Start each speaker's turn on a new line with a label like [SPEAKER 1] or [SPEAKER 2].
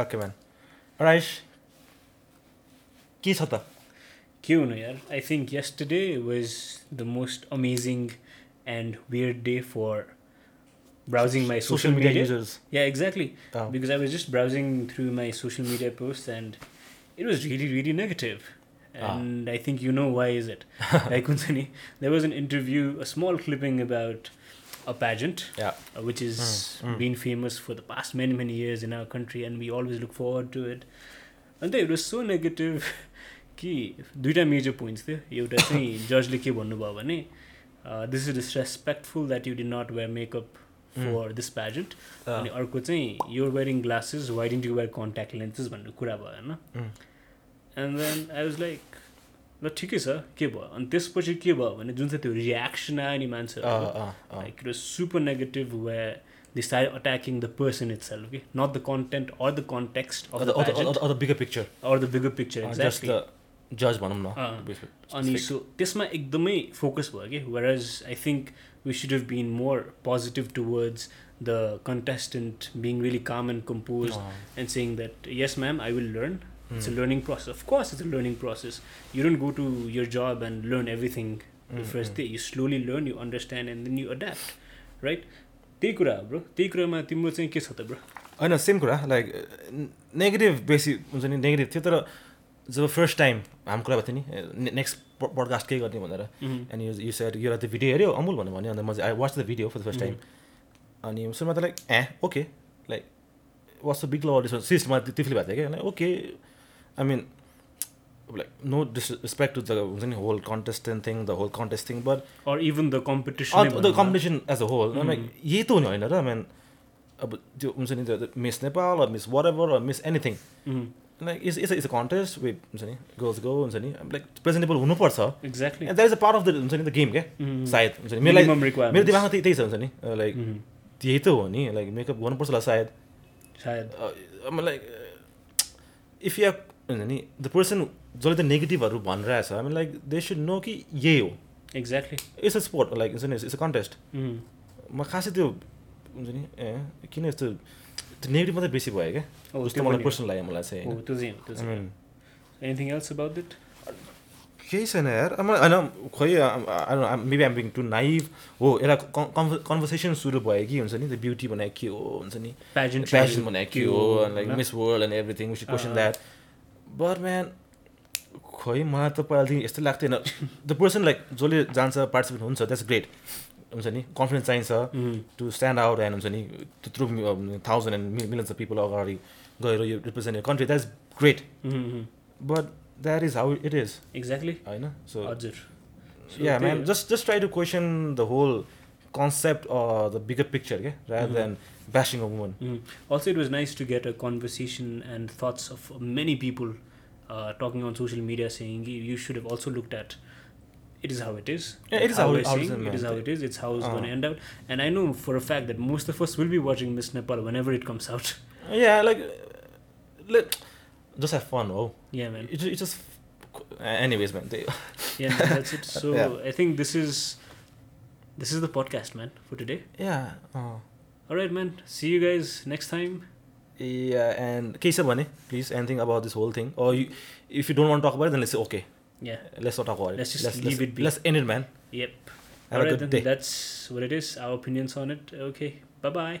[SPEAKER 1] Okay man और आयुष की होता
[SPEAKER 2] क्यों ना यार I think yesterday was the most amazing and weird day for browsing my social media
[SPEAKER 1] users
[SPEAKER 2] Yeah, exactly.
[SPEAKER 1] Oh.
[SPEAKER 2] Because I was just browsing through my social media posts and it was really, really negative.
[SPEAKER 1] Ah.
[SPEAKER 2] And I think you know why is it. like Kunsani, there was an interview, a small clipping about a pageant,
[SPEAKER 1] Yeah. Hmm.
[SPEAKER 2] uh, which has been famous for the past many, many years in our country, and we always look forward to it. And it was so negative. कि दुईवटा major points थियो एउटा चाहिँ जजले के भन्नुभयो भने this is disrespectful that you did not wear makeup
[SPEAKER 1] Hmm.
[SPEAKER 2] For this pageant
[SPEAKER 1] Oh.
[SPEAKER 2] अनि अर्को चाहिँ your wearing glasses why don't you wear contact lenses भन्ने कुरा भयो होइन
[SPEAKER 1] Mm.
[SPEAKER 2] And then I was like ल ठिकै छ के भयो अनि त्यसपछि के भयो भने जुन चाहिँ त्यो रियाक्सन आयो नि
[SPEAKER 1] Oh,
[SPEAKER 2] मान्छेहरू like it was super negative way they start attacking the person itself कि not the content or the context of the pageant
[SPEAKER 1] bigger picture
[SPEAKER 2] or the bigger picture
[SPEAKER 1] just
[SPEAKER 2] exactly
[SPEAKER 1] the जज भनौँ न
[SPEAKER 2] अँ, अनि सो त्यसमा एकदमै focus भयो कि whereas I think we should have been more positive towards the contestant being really calm and
[SPEAKER 1] Oh.
[SPEAKER 2] Compose and saying that yes ma'am I will learn it's
[SPEAKER 1] Hmm. Mm,
[SPEAKER 2] a learning process of course it's a learning process you don't go to your job and learn everything
[SPEAKER 1] mm, Hmm,
[SPEAKER 2] first day you slowly learn you understand and then you adapt right त्यही कुरा हो bro त्यही कुरामा तिम्रो चाहिँ के छ त ब्रो
[SPEAKER 1] होइन सेम कुरा लाइक नेगेटिभ बेसी हुन्छ नि नेगेटिभ थियो तर जब फर्स्ट टाइम हाम्रो कुरा भएको थियो नि नेक्स्ट पडकास्ट के गर्ने भनेर एन्ड यु यु सेट यो त्यो भिडियो हेऱ्यो अमुल भन्यो भने अन्त म I watch the video for the first time अनि सुरुमा त like a okay like what's the big लडिस सिस्टमा त्यो फिल भएको थियो क्या okay I mean like no disrespect to the हुन्छ नि whole contestant thing the whole contest thing but
[SPEAKER 2] or even the
[SPEAKER 1] the
[SPEAKER 2] competition
[SPEAKER 1] competition as a whole
[SPEAKER 2] Hmm,
[SPEAKER 1] like यही त हुने होइन र म्यान अब त्यो हुन्छ नि त्यो Miss Nepal Miss whatever Miss anything
[SPEAKER 2] hmm.
[SPEAKER 1] Like is is is a contest with हुन्छ नि गर्ल्स गो हुन्छ नि लाइक प्रेजेन्टेबल हुनुपर्छ
[SPEAKER 2] exactly
[SPEAKER 1] that is a part of the हुन्छ नि द गेम क्या सायद हुन्छ नि मेरो लागि-
[SPEAKER 2] Mm-hmm. Minimum requirements. Mm-hmm.
[SPEAKER 1] मेरो दिमागमा त्यही त्यही छ हुन्छ नि लाइक
[SPEAKER 2] Hmm.
[SPEAKER 1] त्यही त हो नि लाइक मेकअप गर्नुपर्छ होला सायद
[SPEAKER 2] सायद
[SPEAKER 1] लाइक इफ यु हुन्छ नि द पर्सन जसले त नेगेटिभहरू भनिरहेछ हामी लाइक दे सुड नो कि यही हो
[SPEAKER 2] exactly
[SPEAKER 1] it's a sport like हुन्छ नि इट्स अ कन्टेस्ट
[SPEAKER 2] Hmm.
[SPEAKER 1] म खासै त्यो हुन्छ नि ए किन यस्तो त्यो नेगेटिभ मात्रै बेसी भयो क्या
[SPEAKER 2] हो,
[SPEAKER 1] जस्तो
[SPEAKER 2] Oh, त्यो
[SPEAKER 1] मलाई
[SPEAKER 2] पनि हो।
[SPEAKER 1] पर्सनल लाग्यो मलाई चाहिँ
[SPEAKER 2] हो
[SPEAKER 1] होइन
[SPEAKER 2] त्यो चाहिँ हो, त्यो
[SPEAKER 1] I
[SPEAKER 2] चाहिँ
[SPEAKER 1] mean,
[SPEAKER 2] हो। एनिथिङ एल्स अबाउट इट
[SPEAKER 1] केही छैन यार अब मलाई होइन खोइ maybe I'm being too naive हो एउटा कन्भर्सेसन सुरु भयो कि हुन्छ नि त्यो ब्युटी भनेको के हो हुन्छ नि
[SPEAKER 2] प्याजेन्ट
[SPEAKER 1] प्यासन भनेको के हो लाइक
[SPEAKER 2] होइन?
[SPEAKER 1] Miss World and everything with question
[SPEAKER 2] अँ।
[SPEAKER 1] द्याट बट म्यान खोइ मलाई त पहिलादेखि यस्तो लाग्थेन द पर्सन लाइक जसले जान्छ पार्टिसिपेट हुन्छ द्याट्स ग्रेट हुन्छ नि कन्फिडेन्स चाहिन्छ
[SPEAKER 2] Hmm,
[SPEAKER 1] to stand out and हुन्छ नि त्यत्रो thousand and millions of people अगाडि गएर यो रिप्रेजेन्ट यो country that's great
[SPEAKER 2] hmm,
[SPEAKER 1] but that is how it is
[SPEAKER 2] exactly
[SPEAKER 1] होइन सो
[SPEAKER 2] हजुर So
[SPEAKER 1] या म्यान
[SPEAKER 2] त्यही-
[SPEAKER 1] just just try to question the whole concept the bigger picture क्या
[SPEAKER 2] Mm-hmm.
[SPEAKER 1] Rather than bashing a woman
[SPEAKER 2] Mm. Also it was nice to get a conversation and thoughts of many people talking on social media saying you should have also look at It is how it is.
[SPEAKER 1] Yeah,
[SPEAKER 2] Like
[SPEAKER 1] it is how
[SPEAKER 2] we're
[SPEAKER 1] it- how it is,
[SPEAKER 2] saying, It is
[SPEAKER 1] man.
[SPEAKER 2] how it is. It's how it's
[SPEAKER 1] Uh.
[SPEAKER 2] going to end out. And I know for a fact that most of us will be watching Miss Nepal whenever it comes out.
[SPEAKER 1] या like
[SPEAKER 2] uh,
[SPEAKER 1] just have fun हो
[SPEAKER 2] Yeah, man.
[SPEAKER 1] It's it's just anyways म्यान त्यही
[SPEAKER 2] Yeah, man, that's it. So
[SPEAKER 1] Yeah.
[SPEAKER 2] I think this is this is the podcast, man, for today.
[SPEAKER 1] Yeah
[SPEAKER 2] oh, All right, man. See you guys next time.
[SPEAKER 1] Yeah and केही छ भने please anything about this whole thing if you don't want talk about then let's okay
[SPEAKER 2] Yeah.
[SPEAKER 1] Let's not talk
[SPEAKER 2] Let's just leave it
[SPEAKER 1] about
[SPEAKER 2] be.
[SPEAKER 1] Let's end it man
[SPEAKER 2] Yep.
[SPEAKER 1] Have a
[SPEAKER 2] Alright
[SPEAKER 1] good
[SPEAKER 2] then,
[SPEAKER 1] day.
[SPEAKER 2] That's what it is. Our opinions on it. Okay. Bye bye.